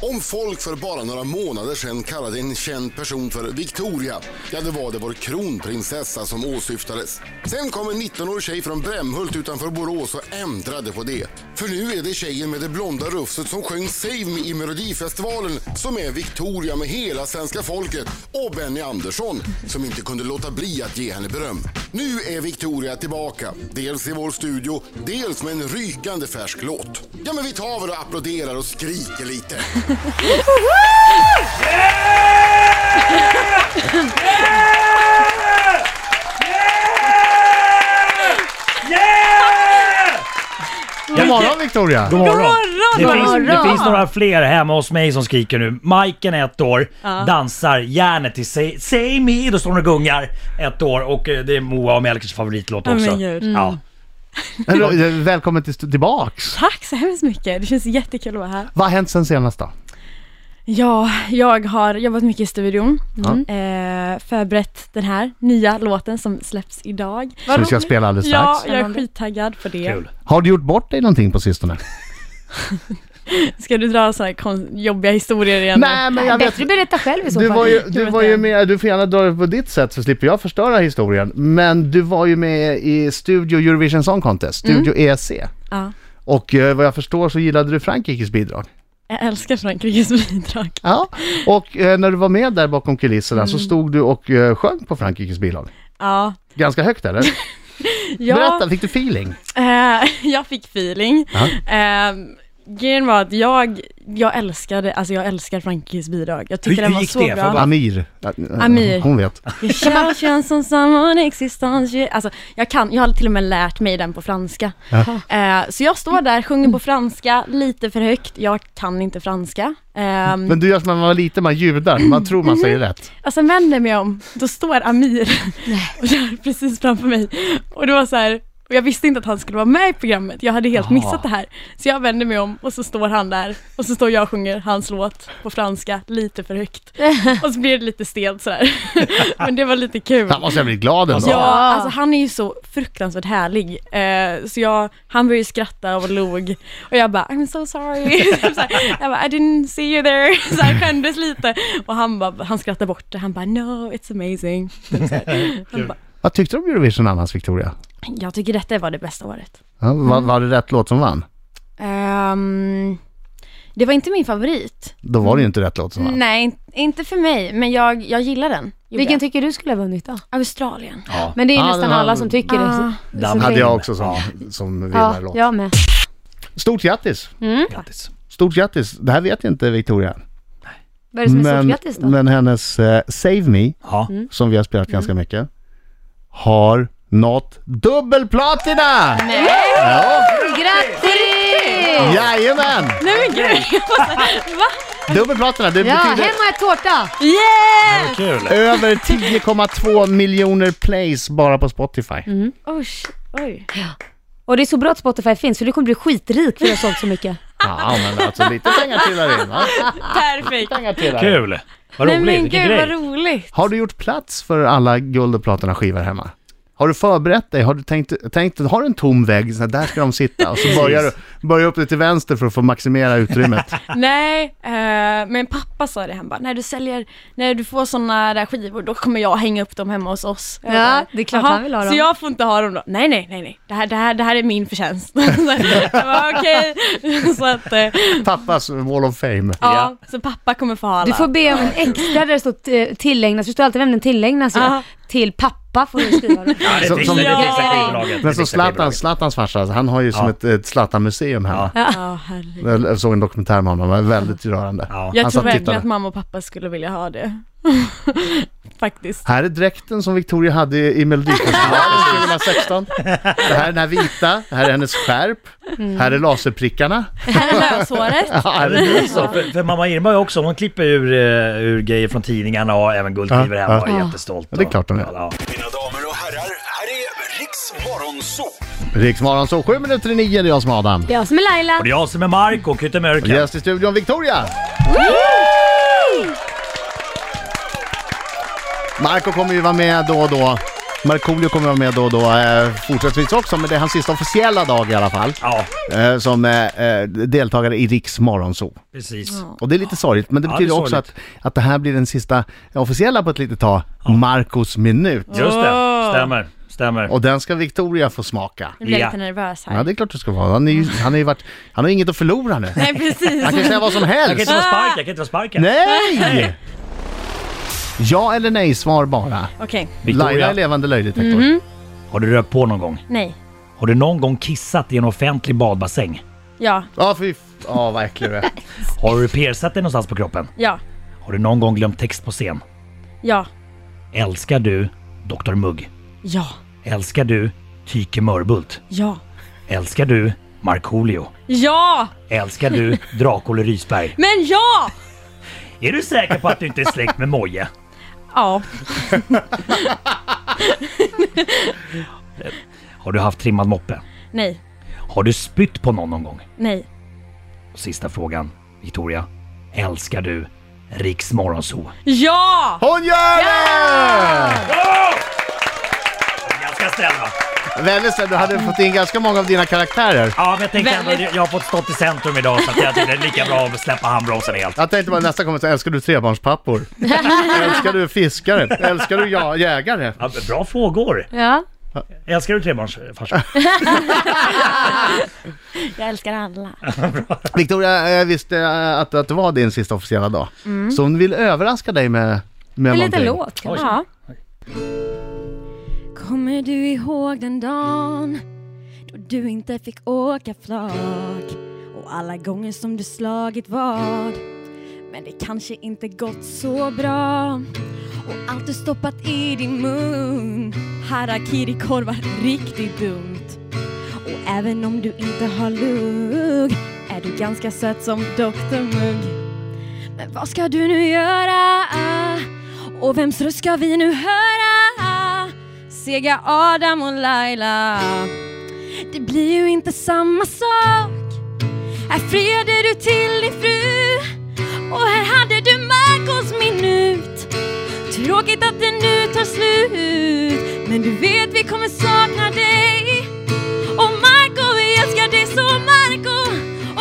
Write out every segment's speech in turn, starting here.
Om folk för bara några månader sedan kallade en känd person för Victoria, ja det var det vår kronprinsessa som åsyftades. Sen kom en 19-årig tjej från Brämhult utanför Borås och ändrade på det. För nu är det tjejen med det blonda rufset som sjöng Save Me i Melodifestivalen som är Victoria med hela svenska folket och Benny Andersson som inte kunde låta bli att ge henne beröm. Nu är Victoria tillbaka, dels i vår studio, dels med en rykande färsk låt. Ja men vi tar väl och applåderar och skriker lite. God morgon Victoria! God morgon! morgon, det, god finns, morgon. det finns några fler hemma hos mig som skriker nu. Majken är ett år, dansar järnet till Say, Say Me, då står hon och gungar ett år och eh, det är Moa och Melkers favoritlåt Ja, men också. gud. Mm. Ja. Eller, eh, Välkommen till, tillbaks! Tack så hemskt mycket, det känns jättekul att vara här. Vad har hänt sen senast då? Ja, jag har jobbat mycket i studion. Eh, förberett den här nya låten som släpps idag. Som vi ska spela alldeles Ja, strax. jag är Spännande. skittaggad på det. Kul. Har du gjort bort dig någonting på sistone? Ska du dra sådana här kon- jobbiga historier igen? Nej men jag vet... Bättre berätta själv i så Du fall. var, ju, du vet var ju jag. med, du får gärna dra det på ditt sätt så slipper jag förstöra historien. Men du var ju med i Studio Eurovision Song Contest, Studio ESC. Ja. Och eh, vad jag förstår så gillade du Frankrikes bidrag. Jag älskar Frankrikes bidrag. Ja, och eh, när du var med där bakom kulisserna så stod du och eh, sjöng på Frankrikes bidrag. Ja. Ganska högt eller? ja. Berätta, fick du feeling? Eh, jag fick feeling. Ja. Eh, grejen var att jag, jag älskade, alltså jag älskar Frankrikes bidrag. Jag tycker Hur- den hur var gick så det? Får jag bra. bara- Amir. Amir. Hon vet. Det känns, känns som someone existence. Alltså jag kan, jag har till och med lärt mig den på franska. Eh, så jag står där, sjunger på franska, lite för högt. Jag kan inte franska. Eh, Mm. Men du gör som när man var liten, man ljudar, man tror man säger Mm-hmm. rätt. Och sen vänder jag mig om, då står Amir och gör precis framför mig. Och det var så här, och jag visste inte att han skulle vara med i programmet, jag hade helt missat det här. Så jag vänder mig om och så står han där och så står jag och sjunger hans låt på franska lite för högt. Och så blir det lite stelt sådär. Men det var lite kul. Han måste ha blivit glad ändå. Ja, alltså han är ju så fruktansvärt härlig. Eh, så jag, han började ju skratta och log. Och jag bara, I'm so sorry. Typ så här, jag bara, I didn't see you there. Så han skämdes lite. Och han, bara, han skrattade bort det. Han bara, no, it's amazing. Typ så här. Han bara, Vad tyckte du om Eurovision annars, Victoria? jag tycker detta var det bästa året. Ja, var, Mm. var det rätt låt som vann? Ehm, det var inte min favorit. Då var det Mm. ju inte rätt låt som vann. Nej, in- inte för mig. Men jag, jag gillar den. Gjorde Vilken jag. tycker du skulle ha vunnit då? Australien. Ja. Men det är ju Ja, nästan den har- alla som tycker det. Ah. Så- Den så Hade det- jag också som, som Ja, Mm. vinnarlåt. jag med. Stort grattis! Grattis. Stort grattis! Det här vet inte Victoria. Vad är det som är stort Men, grattis då? Mm. men hennes eh, Save Me, Ja. Mm. som vi har spelat ganska mycket, har nått dubbelplatina! Nej! Ja, Grattis! jajamän! Nej men gud! Dubbelplatina, det Ja, betyder hemma är tårta! Yeah! Kul. över 10,2 miljoner plays bara på Spotify. Mm. Usch, oj. Och det är så bra att Spotify finns, för du kommer bli skitrik för att du har sålt så mycket. Ja, men alltså lite pengar trillar in va? Perfekt. Pengar trillar in. Kul. Vad Nej roligt, men vilken gud vad grej. roligt. Har du gjort plats för alla guld och platinaskivor hemma? Har du förberett dig? Har du tänkt, tänkt har du en tom vägg, så här, där ska de sitta och så börjar du börjar upp lite till vänster för att få maximera utrymmet. Nej, eh, men pappa sa det, han bara, när du säljer, när du får sådana där skivor då kommer jag hänga upp dem hemma hos oss. Jag Ja, bara, det är klart "Jaha, han vill ha dem." Så jag får inte ha dem då? Nej, nej, nej, nej. Det här, det här, det här är min förtjänst. jag bara, okej. så att, eh, Pappas wall of fame. ja, så pappa kommer få ha alla. Du får be om en extra där det står t- tillägnas, du står alltid vem den tillägnas Ja. är. Till pappa får du skriva det. Ja, det Som- fixar- som- det fixar Ja. skivbolaget. Det Men så fixar Zlatan, skivbolaget. Zlatans farsa, alltså, han har ju som Ja. ett, ett Zlatan-museum hemma. Ja, herregud. Jag såg en dokumentär med honom, det var väldigt rörande. Ja. Han Jag tror satt och verkligen tittade. att mamma och pappa skulle vilja ha det. Faktiskt. Här är dräkten som Victoria hade i Melodifestivalen 2016. Det här är den här vita, här är hennes skärp, här är laserprickarna. Här är löshåret. Ja, här är Det är så, för, för mamma Irma är också, hon klipper ur, eh, ur grejer från tidningarna och även guldskivor Ja, hemma ja. och är jättestolt. Ja, det är klart hon är. Och, ja, Mina damer och herrar, här är Riks Morgonzoo! Riksmorgon så, sju minuter i nio, det är jag som är Adam. Jag som är Laila. och det är jag som är Marco, Och Kyttemörken. Gäst i studion, Victoria! Marco kommer ju vara med då och då Markoolio kommer vara med då och då eh, fortsättningsvis också, men det är hans sista officiella dag i alla fall. Ja, Eh, som eh, eh, deltagare i Riks Morgonzoo. precis. Och det är lite sorgligt, men det Ja, betyder det är också att, sorgligt. att det här blir den sista officiella på ett litet tag, Marcos minut. Just det, Åh. stämmer. Stämmer. Och den ska Victoria få smaka. Nu blir Ja. jag lite nervös här. Ja, det är klart du ska vara. Han, är ju, han, har ju varit, han har ju inget att förlora nu. Nej precis. Han kan säga vad som Jag kan helst. inte vara sparkad, jag kan inte vara sparkad. Nej! Ja eller nej, svar bara. Okej, Laila är Victoria, Mhm. levande löjdetektor. har du rört på någon gång? nej. Har du någon gång kissat i en offentlig badbassäng? Ja, Ja, fy... f- Ja, vad äcklig du är. Har du piercat dig någonstans på kroppen? ja, Har du någon gång glömt text på scen? ja, Älskar du Dr Mugg? ja, Älskar du Tyke Mörbult? ja, Älskar du Markoolio? ja, Älskar du Drak-Olle Rysberg? men ja! Är du säker på att du inte är släkt med Moje? Ja, Har du haft trimmad moppe? nej, Har du spytt på någon någon gång? nej, Och sista frågan, Victoria. Älskar du Riks Morgonzoo? ja! Hon gör det! Ganska snäll va? Väldigt snäll, du hade fått in ganska många av dina karaktärer. Ja, men jag tänkte ändå att Väldigt. jag har fått stått i centrum idag så att jag tyckte det är lika bra att släppa handbromsen helt. Jag tänkte bara nästa kommer säga, älskar du trebarnspappor? älskar du fiskare? Älskar du ja, jägare? Ja, bra frågor! Ja, Älskar du eh, trebarnsfarsan? jag älskar alla. Victoria eh, visste eh, att, att det var din sista officiella dag. Så hon vill överraska dig med, med En liten någonting. låt kanske. Oj. Ja. Kommer du ihåg den dagen då du inte fick åka flak och alla gånger som du slagit vad men det kanske inte gått så bra och allt du stoppat i din mun harakiri-korvar riktigt dumt och även om du inte har lugg är du ganska söt som Dr Mugg men vad ska du nu göra? Och vems röst ska vi nu höra? Sega Adam och Laila Det blir ju inte samma sak Här friade du till din fru Och här hade du Marcos minut Tråkigt att det nu tar slut Men du vet vi kommer sakna dig och Marco, vi älskar dig så Marco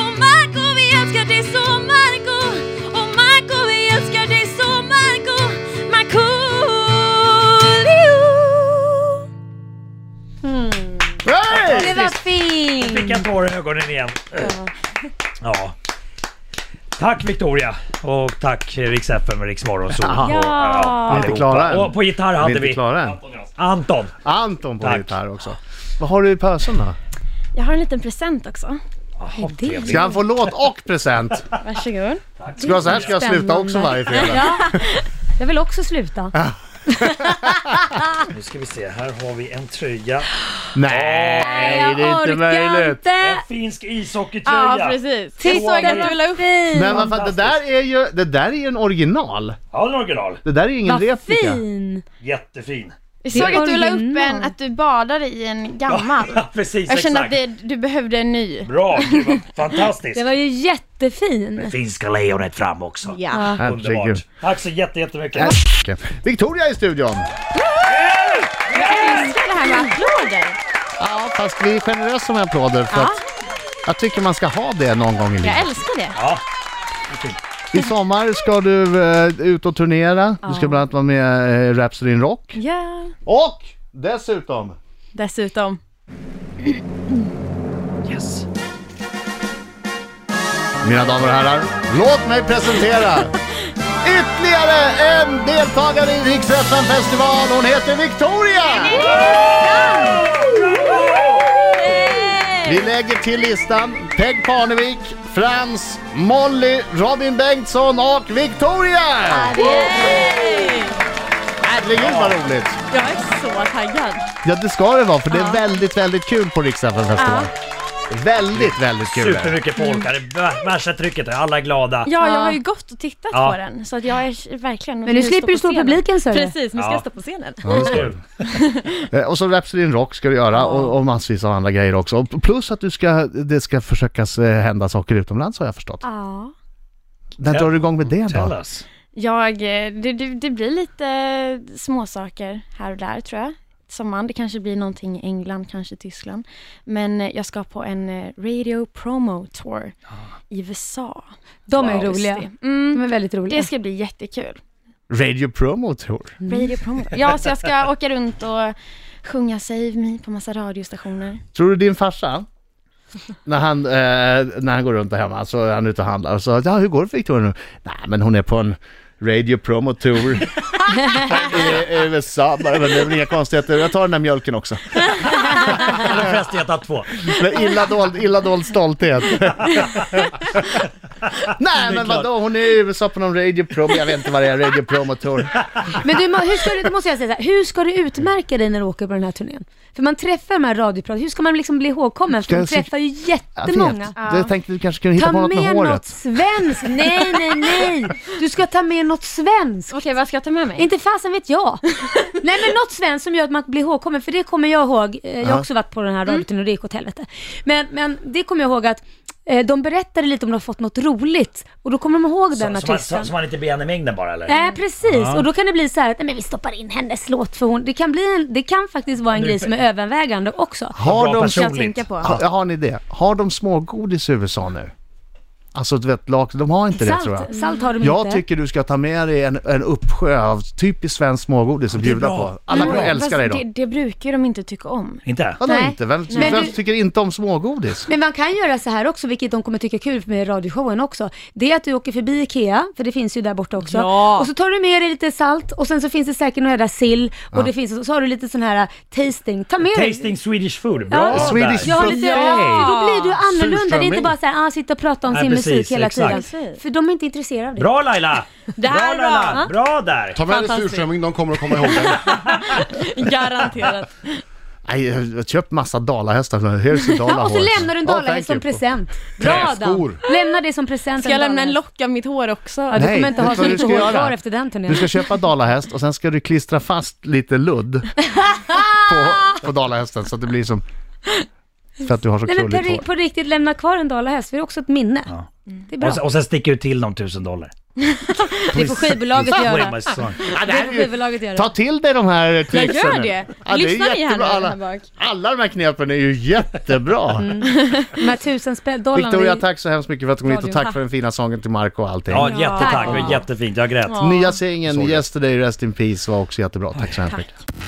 Och Marco, vi älskar dig så Marco Och Marco, vi älskar dig så Marco Markoolio Hey! Det var fint! Fick jag tårar i ögonen igen. Ja. Tack Victoria och tack Rix FM och Rix Morgonzoo. Ja. Vi är inte allihopa. klara än. Och på gitarr Vi är hade inte vi klara än. Anton. Anton på Tack. gitarr också. Vad har du i pösen då? Jag har en liten present också. Jaha, trevligt. Ska han få låt och present? Varsågod. Ska jag, så här ska jag sluta också varje fredag. Jag vill också sluta. Nu ska vi se, här har vi en tröja. Nej, det är inte möjligt. En inte! finsk Ja, ishockeytröja. precis. Titta, Jag såg att du la upp. Men vad fan, det där är ju, det där är ju en original. Ja, den är original. Det där är ju ingen Vad replika. fin! Jättefin. Jag såg Det är att du la upp original. en, att du badade i en gammal. Ja, precis, Jag kände att exakt. det, du behövde en ny. Bra, gud vad fantastiskt. Det var ju jättefin! Finska lejonet fram också. Ja. Herregud. Äh. Underbart. Tack så jätte, jättemycket. Okej. Victoria är i studion. Jag älskar det här med applåder. Ja, fast vi är generösa med applåder för att jag tycker man ska ha det någon gång i Jag livet. älskar det. Ja, I sommar ska du eh, ut och turnera. Du ska bland annat vara med i eh, Rhapsody in Rock. Ja. Och dessutom Dessutom. yes. Mina damer och herrar, låt mig presentera ytterligare en deltagare i Rix FM festival. Hon heter Victoria! Vi lägger till listan Peg Parnevik, Frans, Molly, Robin Bengtsson och Victoria! Herregud vad roligt! Jag är så taggad. Ja det ska det vara för det är väldigt, väldigt kul på Rix FM festival. Väldigt, väldigt kul. är det. Supermycket folk här. Det är Värsta trycket. Alla är glada. Ja, jag Ja. har ju gått och tittat Ja. på den. Så att jag är verkligen... Men nu slipper du på stå i scenen. publiken sa du. Precis, nu ska Ja. jag stå på scenen. Kul. Eh, Och så Rhapsody in Rock ska du göra och, och massvis av andra grejer också. Och Plus att du ska, det ska försökas eh, hända saker utomlands har jag förstått. Ja. När Ja. drar du igång med det Tell då? us. Jag, eh, det, det, det blir lite småsaker här och där tror jag. sommaren. Det kanske blir någonting i England, kanske Tyskland. Men eh, jag ska på en eh, radio promo tour i USA. De är Wow. roliga. De Mm, är väldigt roliga. det ska bli jättekul. Radio Promo Tour. Radio promo. Ja, så jag ska åka runt och sjunga Save Me på massa radiostationer. Tror du din farsa, när han, eh, när han går runt där hemma, så är han ute och handlar och så, ja hur går det för Victoria nu? Nej men hon är på en Radio Promo Tour i i USA, bara, men det är väl inga konstigheter, jag tar den där mjölken också. Eller förresten, jag tar två. Men illa dold, illa dold stolthet. Nej men klart. vadå, hon är i USA på någon Radio Promo, jag vet inte vad det är, Radio Promo Tour. Men du, må- hur ska du, det måste jag säga så här, hur ska du utmärka dig när du åker på den här turnén? För man träffar de här radiopratarna, hur ska man liksom bli ihågkommen? För Ska man jag se- träffar ju Jag jättemånga. vet, jag tänkte du kanske kunde hitta Ta på något med med något håret. svenskt! Nej, nej, nej! Du ska ta med något svenskt! Okej, vad ska jag ta med mig? Inte fasen vet jag. Nej men något svenskt som gör att man blir ihågkommen, för det kommer jag ihåg. Eh, Jag har Ja. också varit på den här radion och det gick åt helvete. Men, men det kommer jag ihåg att eh, de berättade lite om de har fått något roligt och då kommer de ihåg den Så, så, man, så, artisten. så man inte blir en i mängden bara eller? Nej precis, och då kan det bli så här att nej, men vi stoppar in hennes låt för hon, det kan, bli en, det kan faktiskt vara en Nu- grej som är övervägande också. Har Bra de Ska jag personligt. tänka på? Har, har ni det? Har de smågodis i USA nu? Alltså du vet, lak, de har inte det tror jag. Salt, salt har de Jag inte. tycker du ska ta med dig en, en uppsjö av typiskt svenskt smågodis och det är bjuda bra. på. Alla kommer älska dig Mm. Fast då. det, det brukar ju de inte tycka om. Inte? Vadå Nej. inte? Vem, Men vem du- tycker inte om smågodis? Men man kan göra så här också, vilket de kommer tycka är kul med radioshowen också. Det är att du åker förbi Ikea, för det finns ju där borta också. Ja. Och så tar du med dig lite salt och sen så finns det säkert någon jävla sill och det finns, så har du lite sån här äh, tasting. Ta med dig. Tasting Swedish food. Bra Ja, där. Swedish Jag har lite, för då blir du annorlunda. Det är Surströmming. inte bara så här, ah, sitta och prata om Nej, sin precis, musik hela exakt. tiden. För de är inte intresserade av det. Bra Laila! Bra Där Laila! bra! Bra där! Ta med dig Fantastiskt. surströmming, de kommer att komma ihåg det. Garanterat. Nej, jag- jag köpt massa dalahästar. Here's a Ja, dollar och så horse. lämnar du en Oh, dalahäst thank som you. present. Bra Dan! Träskor. Lämna det som present. Ska jag lämna en dalahäst. lock av mitt hår också? Ja, du Nej, kommer inte ha vet du så vad du mycket ska hår göra? kvar efter den turnén. Du ska köpa dalahäst och sen ska du klistra fast lite ludd på, på dalahästen så att det blir som... För att du har så Nej men krulligt hår. på, på riktigt, lämna kvar en dalahäst, för det är också ett minne. Det är bra. Och sen, och sen sticker du till dem tusen dollar. Det får skivbolaget Please göra. play my song. Ja, det här är ju- Skivbolaget gör det. Ta till dig de här Jag tipsen. gör det. Ja, det är Lyssnar ni här nu jättebra. här Alla, bak? alla de här knepen är ju jättebra. De här tusen spä- dollarna. Victoria, Mm, vi- tack så hemskt mycket för att du kom hit och Radio. tack för den fina sången till Marco och allting. Ja, jättetack. Ja. Jättefint. Jag grät. Nya singeln Yesterday Rest In Peace var också jättebra. Tack så hemskt mycket.